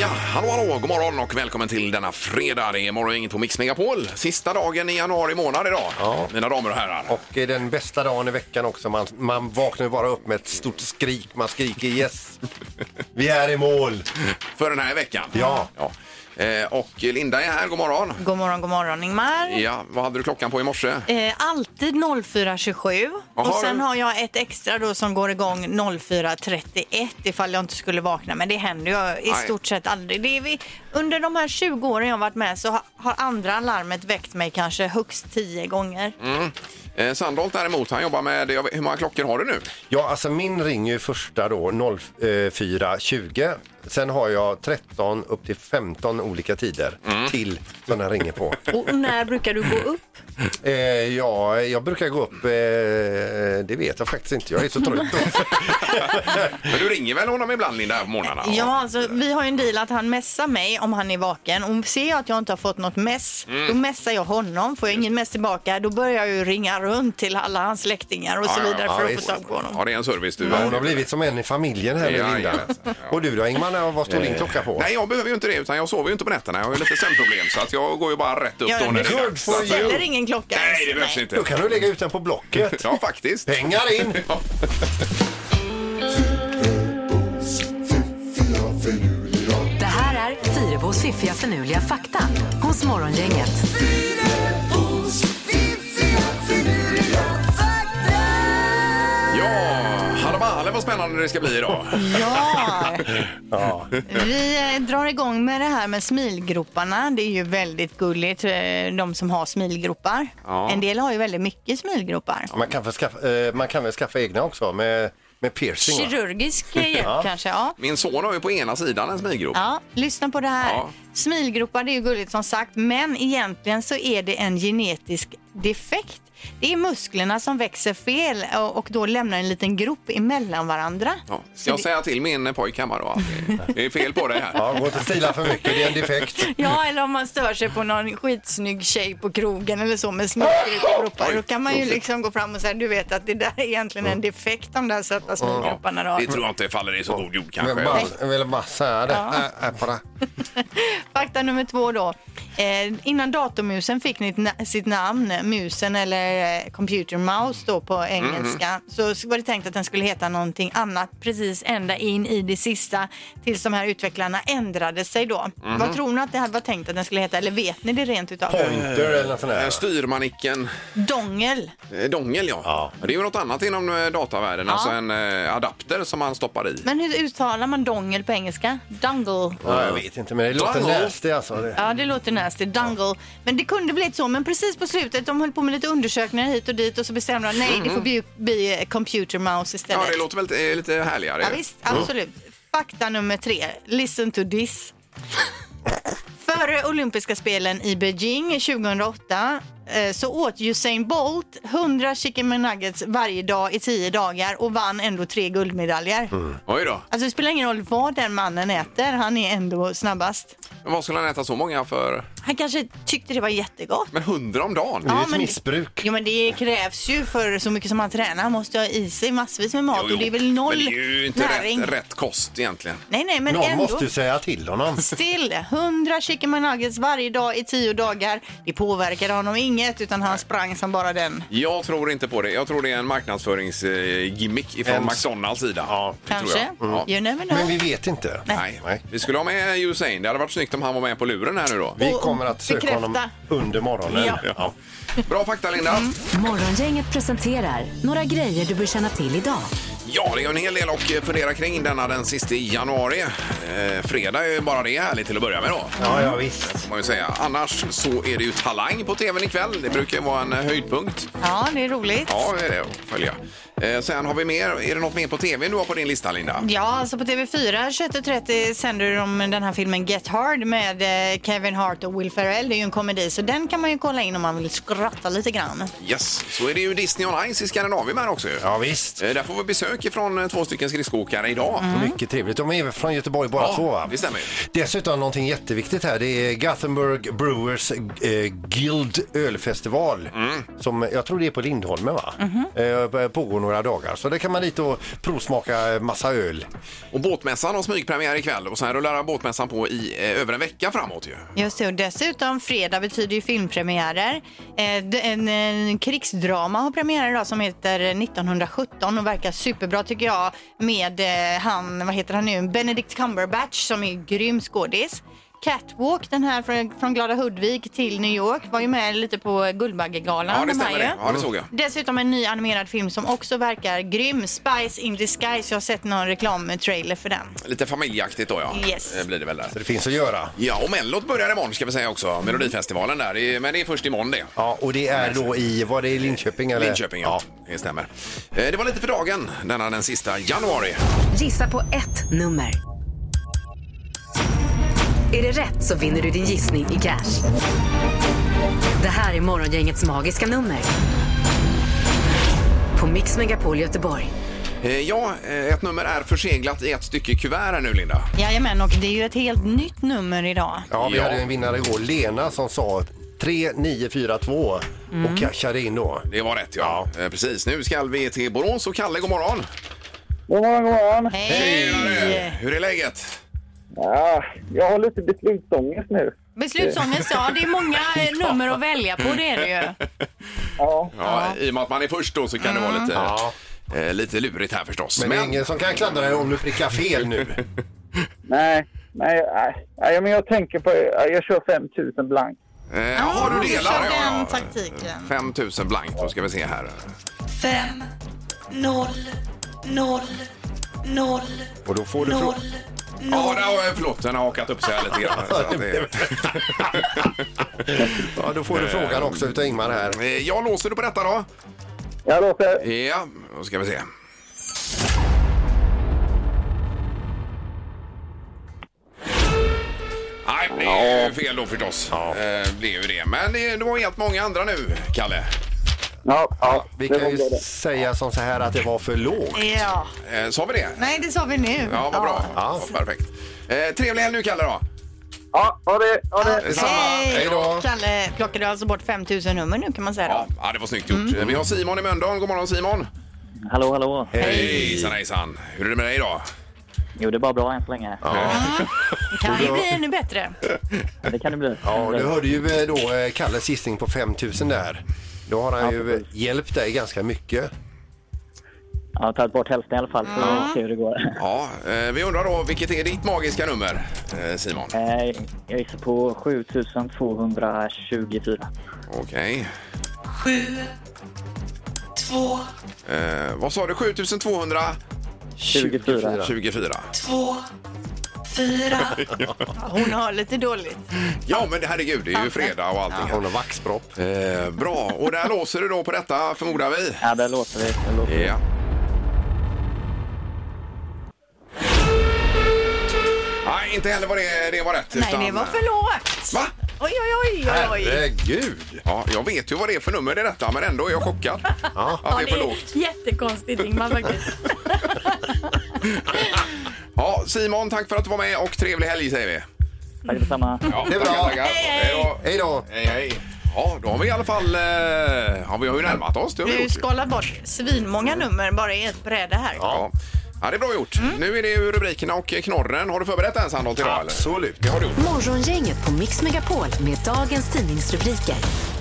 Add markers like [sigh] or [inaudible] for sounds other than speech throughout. Ja, hallå, hallå, god morgon och välkommen till denna fredag. Det är morgongänget på Mix Megapol. Sista dagen i januari månad idag, mina damer och herrar. Och det är den bästa dagen i veckan också. Man, man vaknar ju bara upp med ett stort skrik. Man skriker yes! Vi är i mål! För den här veckan. Ja. Eh, Och Linda är här, god morgon. God morgon, god morgon Ingmar. Ja, vad hade du klockan på i morse? Eh, alltid 04.27 Jaha, och sen du- har jag ett extra då som går igång 04.31 ifall jag inte skulle vakna. Men det händer ju i Nej. stort sett aldrig. Det är vi, under de här 20 åren jag har varit med så har, har andra alarmet väckt mig kanske högst 10 gånger. Eh, Sandholt däremot, han jobbar med, jag vet, hur många klockor har du nu? Ja, alltså min ringer ju första då 04.20. Sen har jag 13 upp till 15 olika tider Mm. till som den ringer på. Och när brukar du gå upp? Eh, ja, jag brukar gå upp, eh, det vet jag faktiskt inte. Jag är så trött. [laughs] Men du ringer väl honom ibland Linda här på morgnarna? Ja, alltså, vi har ju en deal att han messar mig om han är vaken. Och ser jag att jag inte har fått något mess, Mm. då messar jag honom. Får jag ingen mess tillbaka, då börjar jag ju ringa runt till alla hans släktingar och så Ja, ja, vidare ja, för att visst. få tag på honom. Ja, det är en service du Ja, Hon har blivit som en i familjen här Ja, med Linda. ja, ja. Och du då Ingmar, vad står din klocka på? Nej, jag behöver ju inte det, utan jag sover ju inte på nätterna. Jag har ju lite sömnproblem, så att jag går ju bara rätt upp Ja, då när det är good dags. for Så att- you. Ställer ingen klocka Nej, ens. det behövs inte. Då kan du lägga ut den på Blocket. [laughs] Ja, faktiskt. Pengar in! Det här är Fyrabos fiffiga förnuliga fakta hos Morgongänget. Ja, hallå vad spännande det ska bli idag. [laughs] Ja. Vi eh, drar igång med det här med smilgroparna. Det är ju väldigt gulligt, eh, de som har smilgropar. Ja. En del har ju väldigt mycket smilgropar. Man kan, väl skaffa, eh, man kan väl skaffa egna också med, med piercing? va? Kirurgisk eh, hjälp kanske, [laughs] ja. Min son har ju på ena sidan en smilgrop. Ja, lyssna på det här. Ja. Smilgropar, det är ju gulligt som sagt, men egentligen så är det en genetisk defekt. Det är musklerna som växer fel och- och då lämnar en liten grop emellan varandra. Ja. Ska Så jag det- säga till min pojk hemma [laughs] då att det- det är fel på det här? Ja, gå inte och fila för mycket, det är en defekt. Ja, eller om man stör sig på någon skitsnygg tjej på krogen eller så med smilgropar. Då kan man ju liksom gå fram och säga, du vet att det där är egentligen en defekt de där söta smilgroparna du har. Det tror jag inte faller i så god jord Jag kanske. vill bara- jag ville bara säga det. Äh, äh, bara. Fakta nummer två då. Eh, innan datormusen fick ni- na- sitt namn, eh, musen eller eh, computer mouse då på engelska, Mhm. så var det tänkt att den skulle heta någonting annat precis ända in i det sista tills de här utvecklarna ändrade sig då. Mhm. Vad tror ni att det hade varit tänkt att den skulle heta? Eller vet ni det rent utav? Pointer eller något sånt Eh, där. Styrmanicken, Dongel. eh, dongel ja. Det är ju något annat inom eh, datavärlden, alltså en eh, adapter som man stoppar i. Men hur uttalar man dongel på engelska? Dungle. Ja, jag vet inte, men det låter Dongle. nasty alltså. Det. Ja, det låter nasty. Dungle. Men det kunde blivit så. Men precis på slutet, de höll på med lite undersökningar hit och dit och så bestämde de nej, det får bli, bli eh, computer mouse istället. Ja, det låter väl eh, lite härligare. Ja, visst, Mm. absolut. Fakta nummer tre. Listen to this. Före olympiska spelen i Beijing 2008 eh, så åt Usain Bolt 100 chicken McNuggets varje dag i 10 dagar och vann ändå tre guldmedaljer. Mm. Oj då. Alltså det spelar ingen roll vad den mannen äter, han är ändå snabbast. Men Vad skulle han äta så många för? Han kanske tyckte det var jättegott. Men hundra om dagen? Det är Ja, ju ett men- missbruk. Jo men det krävs ju för så mycket som han tränar, han måste ha i sig massvis med mat Jo, jo. och det är väl Men noll det är ju inte näring. rätt, rätt kost egentligen. Nej nej men Någon ändå. måste ju säga till honom. Still, 100 chicken McNuggets varje dag i 10 dagar. Det påverkade honom inget utan han sprang som bara den. Jag tror inte på det. Jag tror det är en marknadsföringsgimmick ifrån En- McDonalds sida. Ja, det tror Kanske? jag. Ja. You never know. Mm. Men vi vet inte. Nej. Vi skulle ha med Usain. Det hade varit snyggt om han var med på luren här nu då. Vi Och kommer att söka bekräfta. honom under morgonen. Ja. Ja. Bra fakta, Linda. Mm. Morgongänget presenterar några grejer du bör känna till idag. Ja, det är en hel del att fundera kring denna den sista januari. Eh, fredag är ju bara det härligt till att börja med då. Ja, ja visst. Får man ju säga. Annars så är det ju Talang på tvn ikväll. Det brukar ju vara en eh, höjdpunkt. Ja, det är roligt. Ja, det är det att följa. Eh, sen har vi mer. Är det något mer på tv du har på din lista, Linda? Ja, alltså på TV4 21.30 sänder de den här filmen Get Hard med eh, Kevin Hart och Will Ferrell. Det är ju en komedi, så den kan man ju kolla in om man vill skratta lite grann. Yes. Så är det ju Disney on Ice i Skandinavien här också ju. Ja, visst. Mm. Eh, Där får vi besök ifrån eh, två stycken skridskoåkare idag. Mycket trevligt. De är från Göteborg båda Ja, två va? det stämmer ju. Dessutom någonting jätteviktigt här. Det är Gothenburg Brewers eh, Guild ölfestival. Mm. Som jag tror det är på Lindholmen va? Mhm. Eh, pågår några dagar. Så där kan man lite och provsmaka massa öl. Och båtmässan har smygpremiär ikväll och sen rullar båtmässan på i eh, över en vecka framåt ju. Just det, och dessutom fredag betyder ju filmpremiärer. Eh, d- En, en krigsdrama har premiär idag som heter 1917 och verkar superbra tycker jag med eh, han, vad heter han nu, Benedict Cumberbatch som är grym skådis. Catwalk, den här från, från Glada Hudvik till New York, var ju med lite på Guldbaggegalan. Ja, det de här stämmer ju. det. Ja, det såg jag. Dessutom en ny animerad film som också verkar grym, Spice in Disguise. Jag har sett någon reklamtrailer för den. Lite familjeaktigt då ja. Yes. Eh, Blir det väl där. Så det finns att göra. Ja, och Mellot börjar imorgon ska vi säga också. Melodifestivalen där. Det är- Men det är först imorgon det. Ja, och det är då i, var det i Linköping eller? Linköping, ja. Det stämmer. Eh, Det var lite för dagen denna den sista januari. Gissa på ett nummer. Är det rätt så vinner du din gissning i cash. Det här är Morgongängets magiska nummer. På Mix Megapol Göteborg. Eh, Ja, eh, ett nummer är förseglat i ett stycke kuvert här nu, Linda. Jajamän, och det är ju ett helt nytt nummer idag. Ja, vi Ja. hade ju en vinnare igår, Lena, som sa 3942 och cashade in då. Det var rätt, ja. Eh, Precis. Nu ska vi till Borås och Kalle, god morgon. God morgon, god morgon. Tjenare! Hur är läget? Ja, jag har lite beslutsångest nu. Beslutsångest, [laughs] ja. Det är många eh, nummer att välja på, det är det ju. Mm. Ja, Ja, I och med att man är först då så kan det vara lite, Ja. eh, lite lurigt här förstås. Men, det är ingen som kan klandra dig om du prickar fel [laughs] nu. nej, nej, nej, nej, men jag tänker på, jag kör 5000 blank. Eh, ja, du delar. kör ja, ja. den taktiken. 5 000 blankt, då ska vi se här. Fem, noll, noll, noll, Och då får du noll, frå- Ja, där har jag, förlåt, den har hakat upp sig här lite grann. Så att det- [laughs] Ja, då får du frågan också utav Ingmar här. Eh, Jag låser du på detta då? Jag låter Ja, då ska vi se. Nej, det är ju fel då förstås. Eh, Det är ju det. Men det det var helt många andra nu, Kalle. Ja, ja, Vi det var kan ju bra det. säga som så här att det var för lågt. Ja. Eh, Sa vi det? Nej, det sa vi nu. Ja, vad bra. Ja, Ja. Perfekt. Eh, Trevlig helg nu, Kalle då. Ja, ha det, ha det. Detsamma. Hej! Hej då. Kalle plockade alltså bort 5000 nummer nu kan man säga Ja, då. ja, det var snyggt gjort. Vi har Simon i Mölndal. God morgon Simon! Hallå, hallå. Hejsan hejsan! Hur är det med dig idag? Jo, det är bara bra än så länge. Det kan ju bli ännu bättre. Det kan det bli. Ja, du hörde ju eh, då eh, Kalles gissning på 5000 där. Då har han ju eh, hjälpt dig ganska mycket. Jag har tagit bort hälften i alla fall, så vi får se hur det går. Ja, eh, vi undrar då, vilket är ditt magiska nummer, eh, Simon? Eh, Jag gissar på 7224. Okej. sju, två, Eh, vad sa du? 7224? 24. två, fyra, Hon har lite dåligt. [laughs] Ja, men herregud, det är ju fredag och allting. Hon har vaxpropp. Eh, bra, och där låser du då på detta, förmodar vi? Ja, det låter vi. Det låter vi. Ja. Nej, inte heller var det, det var rätt. Nej, utan- det var för lågt. Va? Oj, oj, oj, oj, oj. Herregud! Ja, jag vet ju vad det är för nummer det är detta, men ändå är jag chockad. Ja. Att det är för lågt. jättekonstigt Ingmar faktiskt. Ja, Simon, tack för att du var med och trevlig helg säger vi. Tack detsamma. Ja, Det är bra. tackar, tackar. Hej, hej. Hej då. Hej då! Hej, hej. Ja, då har vi i alla fall... eh, Ja, vi har ju närmat oss. [laughs] Det har vi Du gjort. skalar bort svinmånga nummer bara i ett bräde här. Ja. ja, det är bra gjort. Mm. Nu är det ju rubrikerna och knorren. Har du förberett en Sandholt idag? eller? Absolut. Det har du gjort. Morgongänget på Mix Megapol med dagens tidningsrubriker.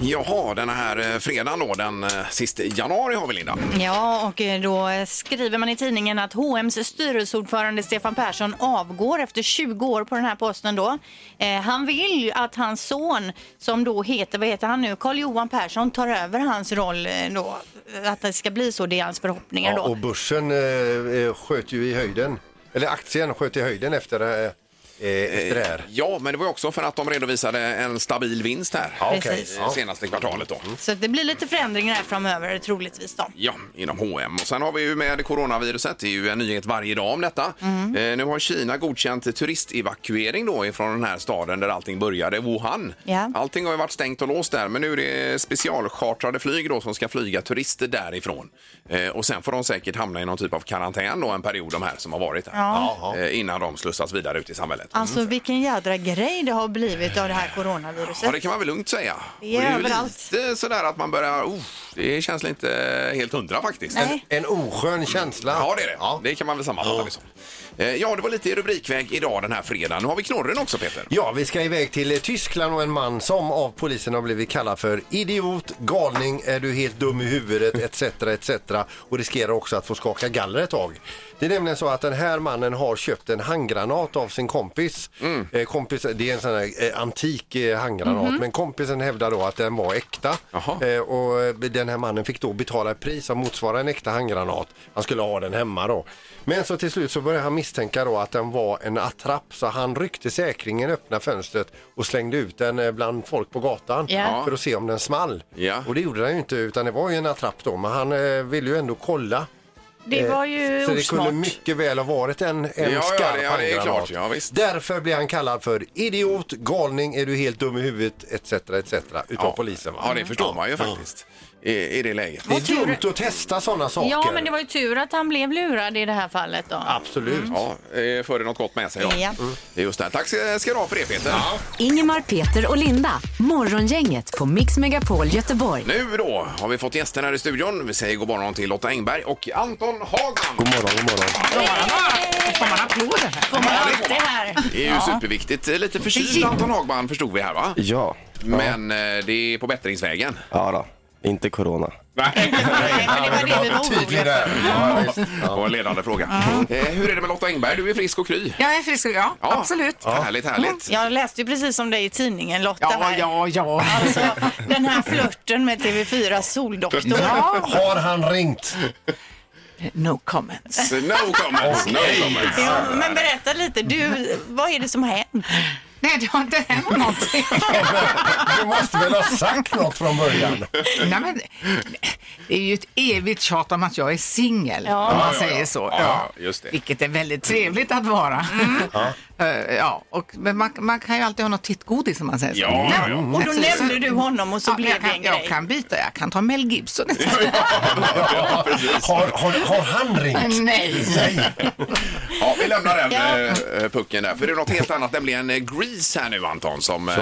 Jaha, den här eh, fredagen då, den eh, sista januari har vi Linda. Ja, och eh, då skriver man i tidningen att H&M's styrelseordförande Stefan Persson avgår efter 20 år på den här posten då. Eh, han vill ju att hans son, som då heter, vad heter han nu, Carl-Johan Persson tar över hans roll eh, då. Att det ska bli så, det är hans förhoppningar Ja, då. och börsen eh, eh, sköt ju i höjden. Eller aktien sköt i höjden efter, eh, eh, efter det här. Ja, men det var ju också för att de redovisade en stabil vinst här Ja, Mm. okej. Precis. eh, senaste kvartalet. Då. Så att det blir lite förändringar här framöver troligtvis då. Ja, inom H&M. Och sen har vi ju med coronaviruset, det är ju en nyhet varje dag om detta. Mm. Eh, nu har Kina godkänt turistevakuering då ifrån den här staden där allting började, Wuhan. Ja. Allting har ju varit stängt och låst där, men nu är det specialchartrade flyg då som ska flyga turister därifrån. Eh, och sen får de säkert hamna i någon typ av karantän då en period de här som har varit här. Ja. Eh, innan de slussas vidare ut i samhället. Alltså vilken jädra grej det har blivit av det här coronaviruset. Ja, det kan man väl lugnt säga. Det är Och det är ju överallt. lite sådär att man börjar... Oh, det känns inte helt hundra faktiskt. Nej. En oskön känsla. Ja, det är det. Det kan man väl sammanfatta det som. Eh, Ja, det var lite i rubrikväg idag den här fredagen. Nu har vi knorren också, Peter. Ja, vi ska iväg till eh, Tyskland och en man som av polisen har blivit kallad för idiot, galning, är du helt dum i huvudet etc. etc. och riskerar också att få skaka galler ett tag. Det är nämligen så att den här mannen har köpt en handgranat av sin kompis. Eh, kompis det är en sån här eh, antik eh, handgranat Mhm. men kompisen hävdar då att den var äkta. Jaha. Eh, och eh, den här mannen fick då betala ett pris som motsvarar en äkta handgranat. Han skulle ha den hemma då. Men så till slut så började han misstänka då att den var en attrapp så han ryckte säkringen, öppnade fönstret och slängde ut den eh, bland folk på gatan Ja. för att se om den small. Ja. Och det gjorde den ju inte utan det var ju en attrapp då men han eh, ville ju ändå kolla. Eh, Det var ju Så det kunde osmart. mycket väl ha varit en, en ja, det- skarp ja, det är handgranat. klart. Ja, visst. Därför blir han kallad för idiot, galning, är du helt dum i huvudet etc. etc. utav polisen. Va? Ja, det förstår man ju faktiskt i, i det läget. Det är dumt att testa sådana saker. Ja, men det var ju tur att han blev lurad i det här fallet då. Mm. Absolut. Mm. Ja, eh, för det något gott med sig. Ja. Det är Just det. Tack ska ska du ha för det, Peter. Ingemar, Peter och Linda. Morgongänget på Mix Megapol Göteborg. Nu då har vi fått gäster här i studion. Vi säger god morgon till Lotta Engberg och Anton Hagman. God morgon, god morgon. Får man applåder här? Får man alltid här. Det är ju superviktigt. Lite förkyld Anton Hagman förstod vi här, va? Ja. Men eh, det är på bättringsvägen. Ja då. Inte corona. Nej. Nej, men det var det vi var oroliga Tydlig för. där. Ja, visst. Det var en ledande fråga. Eh, hur är det med Lotta Engberg? Du är frisk och kry. Jag är frisk, ja. Ja, Absolut. Härligt, härligt. Jag läste ju precis om dig i tidningen Lotta Ja, här. ja, ja. Alltså, den här flörten med TV4 Soldoktorn. Har han ringt? No comments. No [laughs] comments, no comments. Ja, men berätta lite, du, vad är det som har hänt? Nej, det har inte hänt [laughs] någonting. Du måste väl ha sagt något från början? Nej, men, det är ju ett evigt tjat om att jag är singel, Ja. om Ja, man ja, säger ja. så. Ja, just det. Vilket är väldigt trevligt att vara. Mm. [laughs] Eh, ja, och, men man, man kan ju alltid ha något tittgodis om man säger så. Ja, ja, ja. Och då nämnde du honom och så Ja, blev jag, det en kan, jag grej. kan byta, jag kan ta Mel Gibson [laughs] istället. Ja, precis. Har, har, har han ringt? Nej. Ja, vi lämnar den eh, pucken där. För det är något helt annat, nämligen eh, Grease här nu Anton. Som, eh,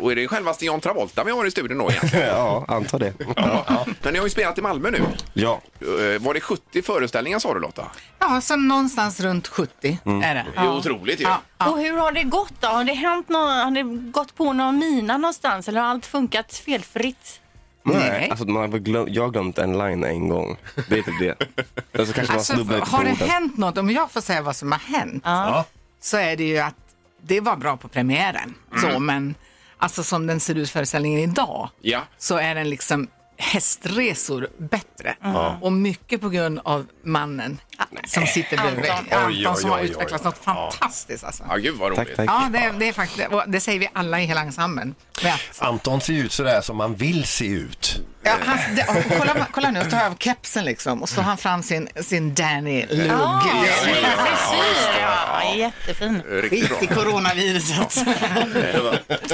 och är det självaste John Travolta vi har i studion då egentligen? [laughs] Ja, anta det. Ja. Men ni har ju spelat i Malmö nu. Ja. Eh, Var det 70 föreställningar sa du Lotta? Ja, så någonstans runt 70 är det. Det är otroligt ju. Ja. Och hur har det gått då? Har det hänt nå- har det gått på någon mina någonstans eller har allt funkat felfritt? Nej. Alltså, man har väl glöm, jag har glömt en line en gång. Det är typ det. Och så kanske man Alltså, snubblar lite på har det orden. hänt något? Om jag får säga vad som har hänt Ja. så är det ju att det var bra på premiären. Så, men alltså som den ser ut föreställningen idag Ja. så är den liksom hästresor bättre. Och mycket på grund av mannen som sitter bredvid. Anton. Anton, Oj, oj, som har oj, oj. utvecklats något fantastiskt alltså. Ja, gud vad Tack, roligt. tack. Ja, det, det är faktiskt, och det säger vi alla i hela ensemblen. Men att- Anton ser ut sådär som han vill se ut. Ja, han, det, och kolla, kolla nu, tar jag av kepsen liksom och så har han fram sin, sin Danny-lugg. ja, ja, ja. frisyr, ja, jättefin. Eh, Riktigt bra. Skit i [laughs] coronaviruset.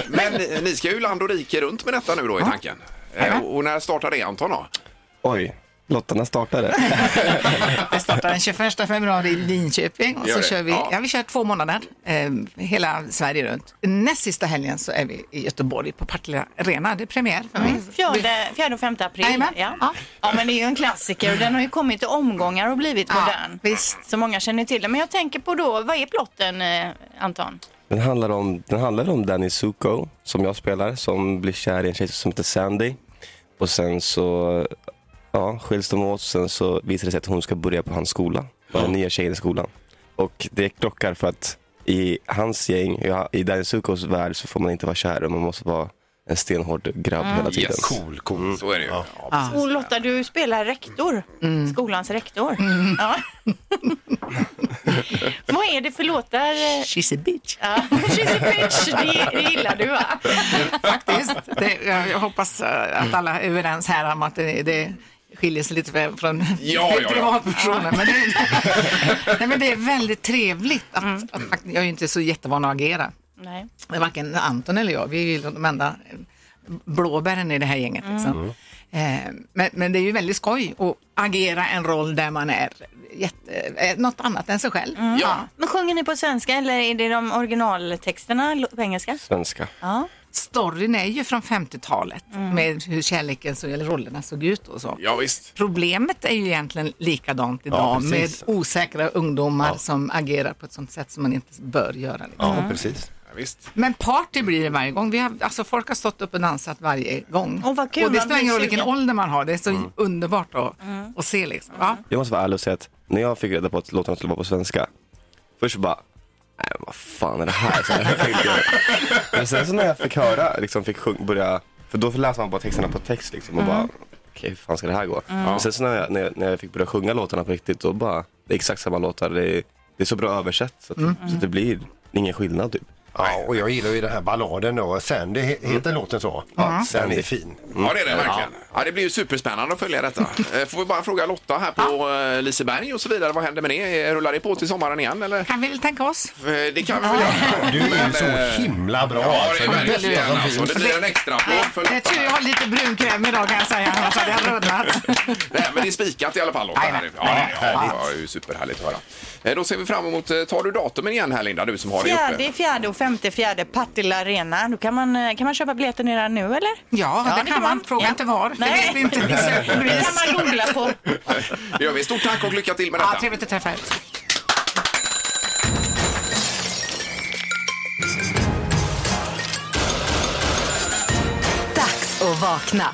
Men eh, ni ska ju land och rike runt med detta nu då i tanken. Eh, Och och när startar det Anton då? Oj, lottarna startade. Det startar den 21 februari i Linköping och Gör så det. kör vi, Ja. ja, vi kör två månader, eh, hela Sverige runt. Näst sista helgen så är vi i Göteborg på Partille Arena, det är premiär för mig. Mm. Fjärde, fjärde och femte april. Jajamän. Ja. Ja. ja, men det är ju en klassiker och den har ju kommit i omgångar och blivit Ja, modern. visst. Så många känner till den. Men jag tänker på då, vad är plotten eh, Anton? Den handlar om, den handlar om Danny Zuko, som jag spelar, som blir kär i en tjej som heter Sandy. Och sen så ja, skiljs de åt, sen så visar det sig att hon ska börja på hans skola. Den nya tjejen i skolan. Och det klockar för att i hans gäng, ja, i Danny Zukos värld så får man inte vara kär, och man måste vara en stenhård grabb Mm. hela tiden. Yes. Cool, cool. Så är det ju. Ja. Och Lotta, du spelar rektor, Mm. skolans rektor. Ja. [laughs] Vad är det för låtar? She's a bitch. Ja, she's a bitch, det, det gillar du va? Faktiskt. Det, jag, jag hoppas eh, att alla är överens här om att det, det skiljer sig lite väl från ja, ja. privatpersonen. Men, det, nej, men det är väldigt trevligt att, Mm. att, fakt- jag är ju inte så jättevan att agera. Nej. Varken Anton eller jag, vi är ju de enda blåbären i det här gänget. Mm. Liksom. Eh, Men, men det är ju väldigt skoj att agera en roll där man är jätte, eh, något annat än sig själv. Mm. Ja. Men sjunger ni på svenska eller är det de originaltexterna lo- på engelska? Svenska. Ja. Mm. Storyn är ju från 50-talet med hur kärleken så, eller rollerna såg ut och så. Ja, visst. Problemet är ju egentligen likadant idag med precis. osäkra ungdomar som agerar på ett sånt sätt som man inte bör göra. liksom. Ja, precis. Ja, visst. Men party blir det varje gång. Vi har, alltså folk har stått upp och dansat varje gång. Och, vad Mm. kul, det man spelar ingen blir roll vilken sugen. ålder man har. Det är så Mm. underbart att, att se liksom. Ja. Jag måste vara ärlig och säga att när jag fick reda på att låtarna skulle vara på svenska, först så bara, nej men vad fan är det här? Så jag tänkte, men sen så när jag fick höra, liksom fick sjung, börja, för då läser man bara texterna på text liksom och Mm. bara, okej hur fan ska det här gå? Mm. Och sen så när jag, när, jag, när jag fick börja sjunga låtarna på riktigt, då bara, det är exakt samma låtar, det är, det är så bra översatt så att, Mm. så att det blir ingen skillnad typ. Mm. Ja, och jag gillar ju den här balladen då. Sandy he- heter låten så. Ja. Sandy är fin. Ja, det är det Mm. verkligen. Ja, det blir ju superspännande att följa [laughs] detta. Eh, Får vi bara fråga Lotta här på eh, Liseberg och så vidare. Vad händer med det? Eh, Rullar det på till sommaren igen eller? Kan vi väl tänka oss? Eh, Det kan vi väl göra. Du är ju så himla bra. eh, Ja, det alltså. är verkligen Bästa som alltså. Det finns. blir en extra applåd för Jag tror jag har lite brunkräm idag kan jag säga, annars hade jag rodnat. Nej, men det är spikat i alla fall. Lotta. Ja, det ja, det är ju superhärligt att höra. Eh, Då ser vi fram emot, eh, tar du datumen igen här Linda, du som har det uppe? Fjärde, fjärde och femte, fjärde Partille Arena. Då kan, man, eh, kan man köpa biljetter redan nu eller? Ja, det kan man. Fråga inte var. Det Nej. vet vi inte. Vi Det söker bevis. kan man googla på. [laughs] Det gör vi. Stort tack och lycka till med Ja, detta. trevligt att träffa er. Dags att vakna.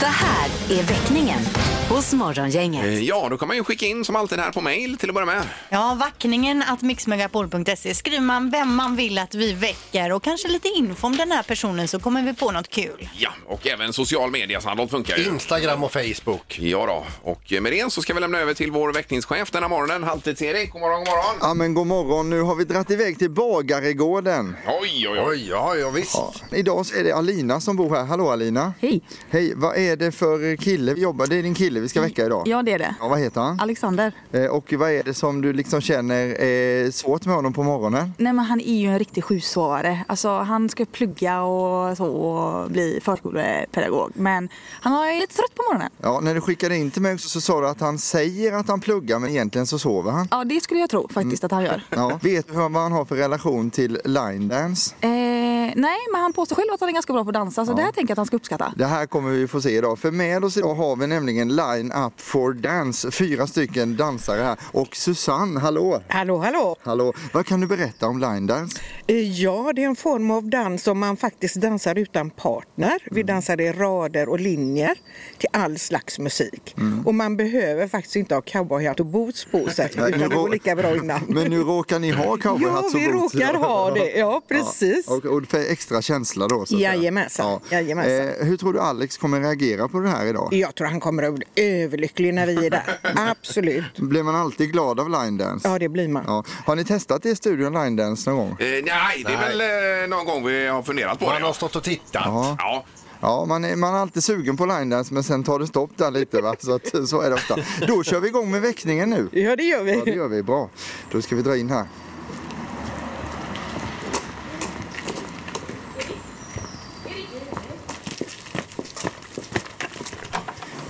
Det här är väckningen hos Morgongänget. Eh, Ja, då kan man ju skicka in som alltid här på mail till att börja med. Ja, vackningen att mixmegapol.se. Skriver man vem man vill att vi väcker och kanske lite info om den här personen så kommer vi på något kul. Ja, och även social media Sandholt funkar ju. Instagram och Facebook. Ja då, och med det så ska vi lämna över till vår väckningschef denna morgonen, Halvtids-Erik. God morgon, god morgon. Ja men god morgon, nu har vi dragit iväg till Bagaregården. Oj, oj, oj. ja, ja visst. Idag så är det Alina som bor här. Hallå Alina. Hej. Hej, vad är det för kille vi jobbar? Det är din kille vi ska väcka idag. Ja, det är det. Ja, vad heter han? Alexander. Eh, Och vad är det som du liksom känner är svårt med honom på morgonen? Nej men han är ju en riktig sjusovare. Alltså han ska plugga och så och bli förskolepedagog. Men han är lite trött på morgonen. Ja, när du skickade in till mig också så sa du att han säger att han pluggar men egentligen så sover han. Mm. Ja det skulle jag tro faktiskt att han gör. Ja. Vet du vad han har för relation till line dance? Eh, nej men han påstår själv att han är ganska bra på att dansa så det här tänker jag att han ska uppskatta. Det här kommer vi få se idag. För med oss idag har vi nämligen Line Up for Dance. Fyra stycken dansare här. Och Susanne, hallå! Hallå, hallå! Hallå! Vad kan du berätta om line dance? Eh, Ja, det är en form av dans som man faktiskt dansar utan partner. Mm. Vi dansar i rader och linjer till all slags musik. Mm. Och man behöver faktiskt inte ha cowboyhatt och boots på sig, Nej, utan det nu går rå- lika bra innan. [laughs] Men nu råkar ni ha cowboyhatt Ja, vi och boots. råkar ha det. Ja, precis. Ja, och, och för extra känsla då. Så att säga. Jajamensan, jajamensan. Eh, hur tror du Alex kommer reagera på det här idag? Jag tror han kommer att bli överlycklig när vi är där. Absolut. Blir man alltid glad av line dance? Ja, det blir man. Ja. Har ni testat det i studion, line dance någon gång? Eh, nej, det är väl eh, någon gång vi har funderat på det. Man har stått och tittat. Ja. Ja. Ja, man är, man är alltid sugen på line dance men sen tar det stopp där lite va. Så, att, så är det ofta. Då kör vi igång med väckningen nu. Ja, det gör vi. Ja, det gör vi. Bra. Då ska vi dra in här.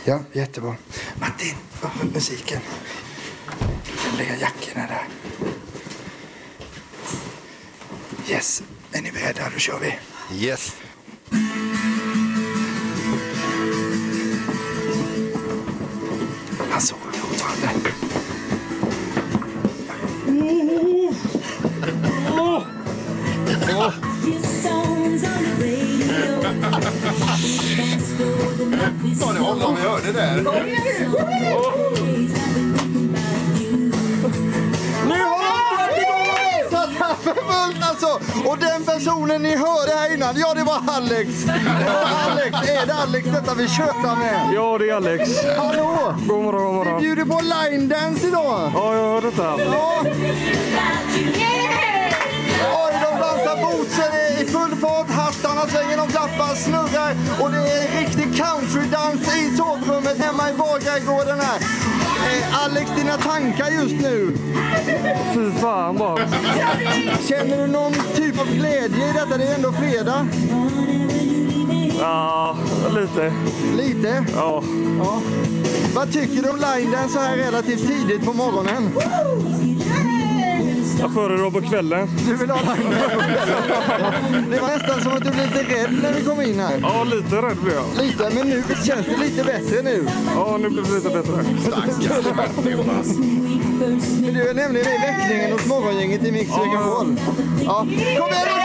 Ja, jättebra. Martin, upp musiken. Du kan lägga jackorna där. Yes, är ni beredda? Då kör vi. Yes. Han sover fortfarande. Oh. Ja, det var honom vi hörde där. Nu har de dragit igång och dansat här för fullt alltså! Och den personen ni hörde här innan, ja det var Alex! Det var Alex, är det Alex detta vi tjötar med? Ja, det är Alex. Hallå! God morgon, god morgon. Vi bjuder på line dance idag! Ja, jag hör detta. Ja. Oj, de dansar boots i full fart, hattarna svänger, de klappar, snurrar och det är en riktig countrydans i sovrummet hemma i Borgagården här. Eh, Alex, dina tankar just nu? Fy fan vad. Känner du någon typ av glädje i detta? Det är ändå fredag. Ja, lite. Lite? Ja. ja. Vad tycker du om line dance så här relativt tidigt på morgonen? Jag föredrar på kvällen. Du vill ha line dance? Det var nästan som att du blev lite rädd när vi kom in här. Ja, lite rädd blir jag. Lite, men nu känns det lite bättre nu. Ja, nu blir det lite bättre. För du är nämligen i väckningen hos morgongänget i Mix Megapol. Ja. Kom igen och kör!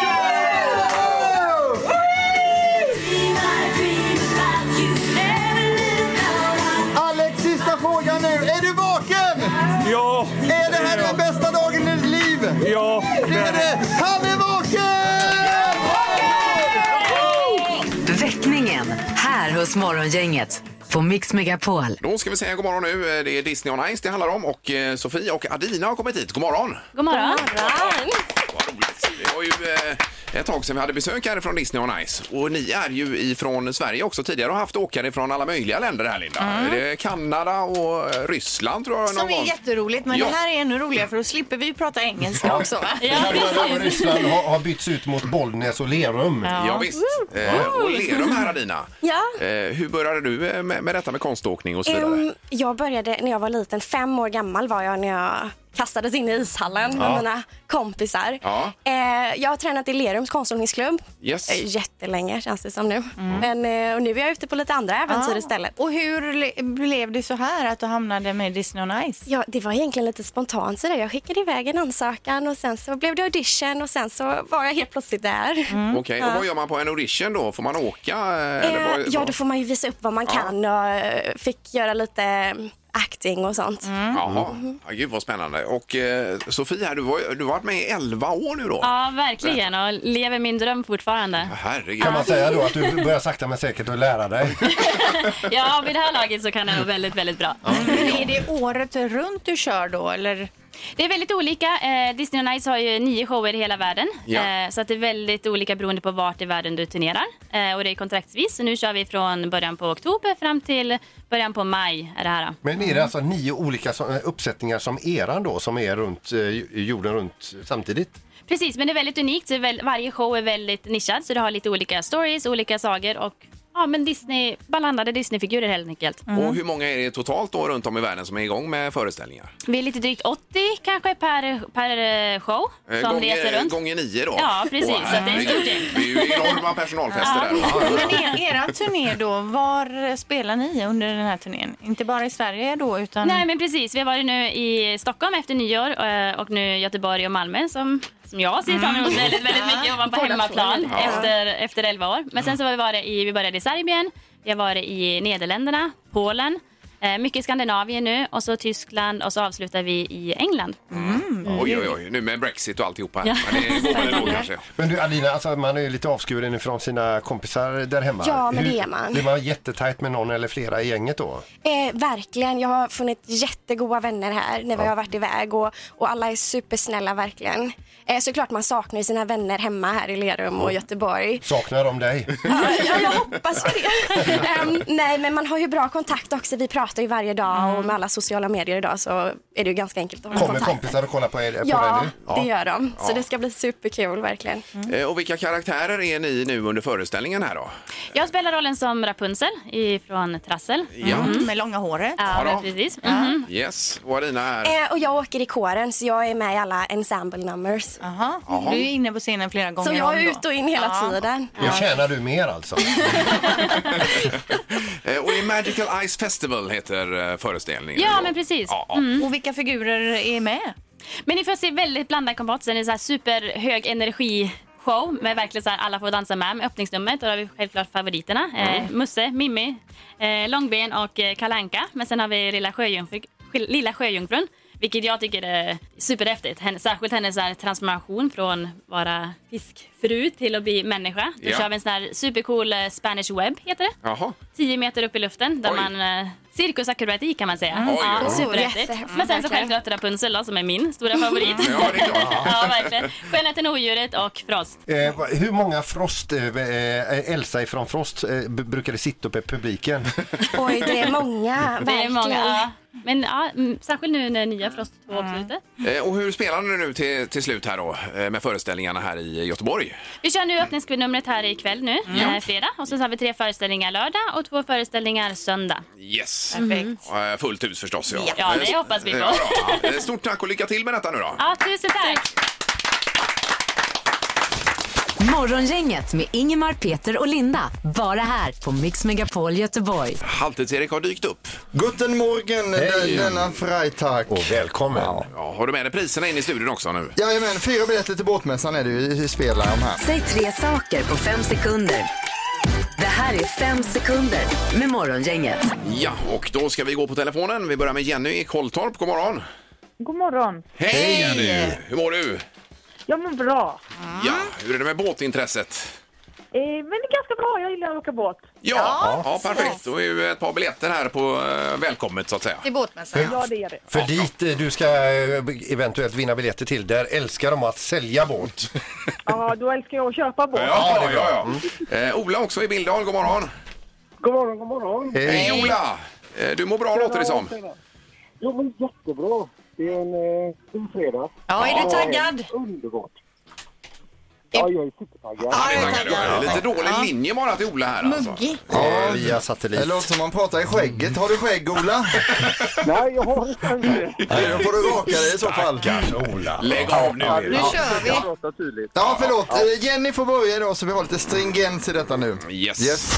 Alex, sista frågan nu. Är du vaken? Ja! Är det här den bästa dagen i ditt liv? Ja! Det är det. Han är vaken! Väckningen här hos Morgongänget på Mix Megapol. Då ska vi säga god morgon nu. Eh, Det är Disney on Ice det handlar om och eh, Sofie och Adina har kommit hit. God morgon! God morgon. Det var ju eh, ett tag sedan vi hade besök här från Disney on Ice och ni är ju ifrån Sverige också tidigare och haft åkare från alla möjliga länder här Linda. Mm. Det är Kanada och eh, Ryssland tror jag någon Som är gång. jätteroligt, men Ja. det här är ännu roligare för då slipper vi ju prata engelska också. Va? Kanada och Ryssland har, har bytts ut mot Bollnäs och Lerum. Ja. Ja, visst. Eh, och Lerum här Adina. Ja. Eh, hur började du eh, med, med detta med konståkning och så vidare? Ehm, jag började när jag var liten. Fem år gammal var jag när jag kastades in i ishallen Ja. med mina kompisar. Ja. Eh, jag har tränat i Lerums konståkningsklubb. Yes. Mm. Eh, jättelänge känns det som nu. Men eh, och nu är jag ute på lite andra äventyr Ah. istället. Och hur le- blev det så här att du hamnade med Disney on Ice? Ja, det var egentligen lite spontant sådär. Jag skickade iväg en ansökan och sen så blev det audition och sen så var jag helt plötsligt där. Mm. Okej, Mm. Ja. och vad gör man på en audition då? Får man åka? eh, eller Eh, vad- ja, vad- då får man ju visa upp vad man Ja. kan och eh, fick göra lite mm, acting och sånt. Mm. Mm. Mhm. Jaha, ja, gud vad spännande. Och eh, Sofie, här, du, var, du har varit med i 11 år nu då? Ja, verkligen. Och lever min dröm fortfarande. Herregud. Kan man säga då att du börjar sakta men säkert att lära dig? Ja, vid det här laget så kan jag nog väldigt, väldigt bra. Är det året runt du kör då eller? Det är väldigt olika. Eh, Disney on Ice har ju nio shower i hela världen. Ja. Eh, så att det är väldigt olika beroende på vart i världen du turnerar. Eh, och det är kontraktsvis. Så nu kör vi från början på oktober fram till början på maj. Är det här. Men är det alltså nio olika så- uppsättningar som eran då som är runt eh, jorden runt samtidigt? Precis, men det är väldigt unikt. Så det är väl, varje show är väldigt nischad. Så det har lite olika stories, olika sagor och ja, men Disney, blandade Disney-figurer helt enkelt. Och hur många är det totalt då runt om i världen som är igång med föreställningar? Vi är lite drygt 80 kanske per, per eh, show Eh, som gånger- reser runt. Gånger nio då? Ja, precis. Så Åh, det är ett herregud. stort gäng. Det är ju enorma personalfester där. Men er, eran turné då, var spelar ni under den här turnén? Inte bara i Sverige då utan? Nej men precis, vi har varit nu i Stockholm efter nyår eh, och nu Göteborg och Malmö som, som jag ser fram emot Mm. väldigt, väldigt mycket. Jag var på Båda hemmaplan två. Ja. efter, efter 11 år. Men sen så var vi, varit i, vi började i Serbien, vi har varit i Nederländerna, Polen, eh, mycket i Skandinavien nu och så Tyskland och så avslutar vi i England. Mm. Oj, oj, oj, nu med Brexit och alltihopa. här. Mm. Ja. Men det går väl ändå kanske. Men du Alina, alltså man är ju lite avskuren ifrån sina kompisar där hemma. Ja, men det är man. Blir man jättetajt med någon eller flera i gänget då? Eh, verkligen. Jag har funnit jättegoda vänner här när vi har varit iväg och, och alla är supersnälla verkligen. Eh, såklart man saknar ju sina vänner hemma här i Lerum och [laughs] Göteborg. Saknar [laughs] de dig? Ja, jag hoppas för det. Ehm, nej, men man har ju bra kontakt också. Vi pratar ju varje dag och med alla sociala medier idag så är det ju ganska enkelt att hålla Kommer kontakt. kompisar och kollar på, er, på Ja, dig nu? det gör de. Så Ja. det ska bli superkul verkligen. Eh, Och vilka karaktärer är ni nu under föreställningen här då? Jag spelar rollen som Rapunzel från Trassel. Ja. Mm, med långa håret. Ja Ja, men då. precis. Mm. Yes, och Arina är... Eh, och jag åker i kåren så jag är med i alla ensemble numbers. Jaha. Du är inne på scenen flera gånger Så jag om är då. ut och in hela Ja. tiden. Nu tjänar du mer alltså. [laughs] Eh, Och det är Magical Ice Festival heter eh, föreställningen. Ja, men precis. Mm. Ja, ja. Mm. Och vilka figurer är med? Men ni får se väldigt blandad kombat. Så Den är så här superhög energi show med verkligen så här, alla får dansa med med öppningsnumret. Och då har vi självklart favoriterna. Eh, Mm. Musse, Mimmi, eh, Långben och eh, Kalanka. Men sen har vi Lilla, Sjöjungfru, Sk- Lilla Sjöjungfrun. Vilket jag tycker är superhäftigt. Hen, särskilt hennes så här, transformation från vara fiskfru till att bli människa. Då Ja. kör vi en sån här supercool eh, Spanish web heter det. Jaha. 10 meter upp i luften där Oj. man eh, Cirkusakrobatik kan man säga. Mm. Oj, oj, Ja, oj. superhäftigt. Jättehäftigt. Men sen så Verkligen. självklart Rapunzel då, som är min stora favorit. Mm, Ja, det är klart. [laughs] ja, verkligen. Skönheten och odjuret och Frost. Eh, va- hur många Frost, eh, eh, Elsa ifrån Frost, eh, b- brukade sitta uppe i publiken? [laughs] Oj, det är många. [laughs] Det är verkligen. Mm. många. Ja. Men ja, mm, särskilt nu när nya Frost 2 också är ute. Eh, Och hur spelar ni nu till, till slut här då eh, med föreställningarna här i Göteborg? Vi kör nu öppningsnumret här ikväll nu, eh, fredag. Och sen så har vi tre föreställningar lördag och två föreställningar söndag. Mm. Yes. Perfekt. Eh, Fullt hus förstås. Ja, Ja, det Eh, hoppas vi på. Ja, ja. Eh, Stort tack och lycka till med detta nu då. Ja, tusen tack! Morgongänget med Ingemar, Peter och Linda. Bara här på Mix Megapol Göteborg. Halvtids-Erik har dykt upp. Guten Morgen, Hej. denna Freitag. Och välkommen. Ja. Ja, har du med dig priserna in i studion också nu? Jajamän, fyra biljetter till båtmässan är det ju i spelar de här. Säg tre saker på fem sekunder. Det här är fem sekunder med Morgongänget. Ja, och då ska vi gå på telefonen. Vi börjar med Jenny i Kolltorp. God morgon! God morgon. Hej, Jenny! Hur mår du? Jag mår bra. Ja, hur är det med båtintresset? Eh, men det är ganska bra. Jag gillar att åka båt. Ja, ja, perfekt. Då är ju ett par biljetter här på eh, välkommet så att säga. båtmässan. Ja, det är det. För dit eh, du ska eh, eventuellt vinna biljetter till, där älskar de att sälja båt. Ja, då älskar jag att köpa båt. Ja, ja, ja. Mm. Eh, Ola också i Billdal, god morgon. God morgon, god morgon. Hej, Ola! Eh, du mår bra låter det som. Jo, men jättebra. Det är en eh, fin fredag. Ja, är du taggad? Underbart. Ja, jag är supertaggad. Ja, det tackar du. Lite dålig Ja. linje bara till Ola här alltså. Ja, via satellit. Det låter som man pratar i skägget. Har du skägg, Ola? Nej, jag har inte det. Nej, då får du raka dig i så fall. Ola. Lägg av nu. Nu kör vi. Jag pratar tydligt. Ja, förlåt. Eh, Jenny får börja då, så vi har lite stringens i detta nu. Yes.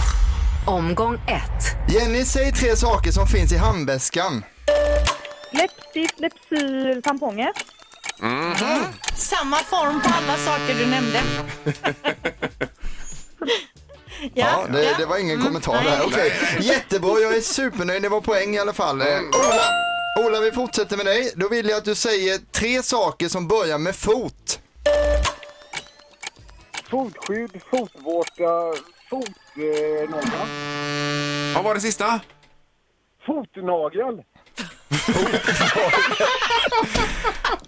Omgång ett. Jenny, säg tre saker som finns i handväskan. Läppstift, läppsyl, tamponger. Samma form på alla saker du [laughs] nämnde. Ja, det, det var ingen kommentar där. Okej, jättebra. Jag är supernöjd. Det var poäng i alla fall. Eh, Ola, Ola, vi fortsätter med dig. Då vill jag att du säger tre saker som börjar med fot. Fotskydd, fotvårta, fotnagel. Vad var det sista? Fotnagel.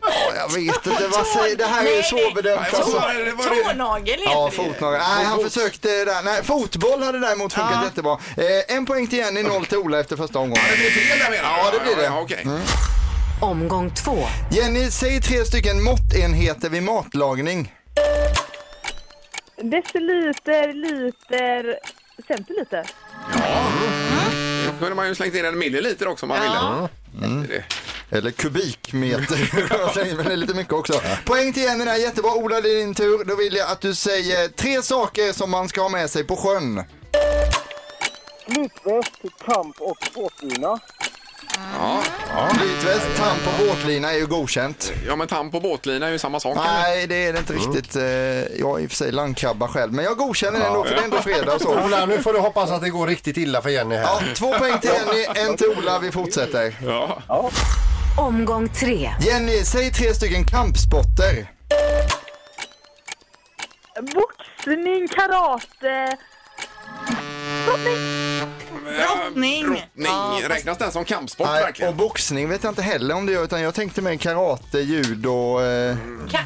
Ja, jag vet inte. Vad säger, det här är ju Nej, svårbedömt. nej. alltså. Tå- Tånagel heter Ja, det ju. fotnagel. Nej, han Fot- försökte där. Nej, fotboll hade däremot funkat Ja. jättebra. Eh, en poäng till Jenny, noll till Ola efter första omgången. Det blir fel där menar du? Ja, det blir det. Ja, okej. Omgång två. Jenny, säg tre stycken måttenheter vid matlagning. Deciliter, liter, centiliter. Då kunde man ju slängt in en milliliter också om man ville. Mm. Eller kubikmeter. Jag säger väl lite mycket också. Poäng till Jenny där, jättebra. Ola, det är din tur. Då vill jag att du säger tre saker som man ska ha med sig på sjön. Flytväst, kamp och båtlina. Ja. Flytväst, tamp och båtlina är ju godkänt. Ja, men tamp och båtlina är ju samma sak. eller? Nej, det är det inte Mm. riktigt. Eh, Jag är i och för sig landkrabba själv, men jag godkänner den Ja. då för det är ändå fredag och så. [laughs] Ola, nu får du hoppas att det går riktigt illa för Jenny här. Ja, två poäng till [laughs] Jenny, en till Ola. Vi fortsätter. Ja. Omgång tre. Jenny, säg tre stycken kampsporter. Boxning, karate. Brottning! Brottning. Räknas den som kampsport Nej, verkligen? och boxning vet jag inte heller om det gör, utan jag tänkte mer karate, judo, eh, Ka-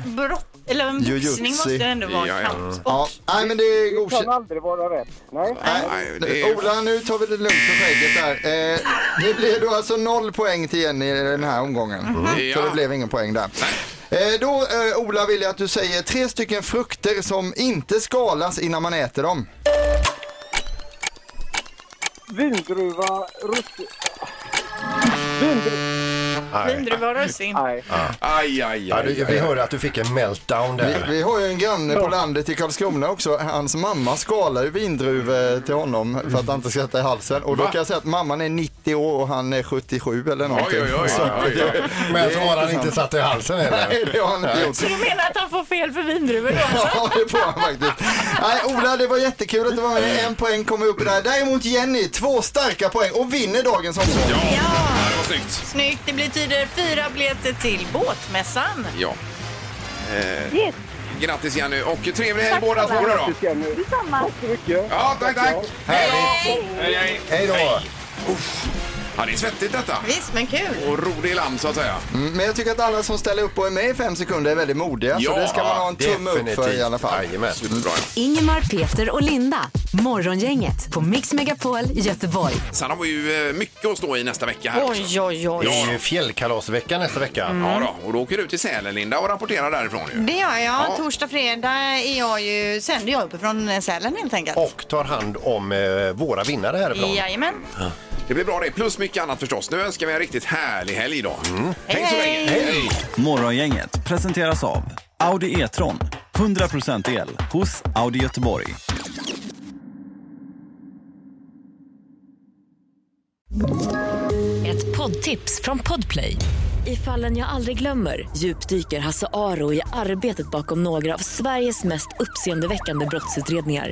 brott, eller en jujutsu. boxning måste ändå vara Ja, ja. kampsport. Ja, nej, men det är Det kan godkänt. aldrig vara rätt. Nej. Ola, nu tar vi det lugnt med skägget där. Eh, det blev då alltså noll poäng till Jenny i den här omgången. Mm. Mm. Mhm. Så Ja. det blev ingen poäng där. Eh, då eh, Ola vill jag att du säger tre stycken frukter som inte skalas innan man äter dem. Vindruva, rutt... Vindruva... Vindruva och [laughs] russin. Aj, aj, aj. Ja, du, vi hörde att du fick en meltdown där. Vi, vi har ju en granne på landet i Karlskrona också. Hans mamma skalar ju vindruvor till honom för att han inte ska sätta i halsen. Och då Va? kan jag säga att mamman är 90 år och han är 77 eller någonting. Oj, oj, oj, Så oj, att oj, det- oj. det Men är så har han intressant. inte satt i halsen heller. Nej, det har han inte gjort. Så du menar att han får fel för vindruvor då? alltså? [laughs] Ja, det får han faktiskt. Nej, Ola, det var jättekul att du var med. En poäng kommer upp där. Däremot Jenny, två starka poäng och vinner dagens omgång. Det var snyggt. Snyggt, det betyder fyra biljetter till båtmässan. Ja. Eh, Grattis Jenny och trevlig helg båda två snälla. då. Detsamma. Tack så mycket. Ja, tack, tack. Hej Hej. då. Hej, hej. Hej då. Uff. Ja, det är svettigt detta. Visst, men kul. Och ro det i land så att säga. Mm, Men jag tycker att alla som ställer upp och är med i fem sekunder är väldigt modiga. så Ja, det ska man ha en tumme upp för i alla fall. Mm. Jajamän. Superbra. Ingemar, Peter och Linda. Morgongänget på Mix Megapol Göteborg. Sen har vi ju eh, mycket att stå i nästa vecka här också. oj, Det är ju fjällkalasvecka nästa vecka. Ja, då. och då åker du till Sälen Linda och rapporterar därifrån ju. Det gör jag. Torsdag, fredag är jag ju, sänder jag uppifrån eh, Sälen helt enkelt. Och tar hand om eh, våra vinnare härifrån. Jajamän. Det blir bra det, plus mycket annat förstås. Nu önskar vi en riktigt härlig helg idag. Hej så länge! Hej. Morgongänget presenteras av Audi E-tron. 100% el hos Audi Göteborg. Ett poddtips från Podplay. I fallen jag aldrig glömmer djupdyker Hasse Aro i arbetet bakom några av Sveriges mest uppseendeväckande brottsutredningar.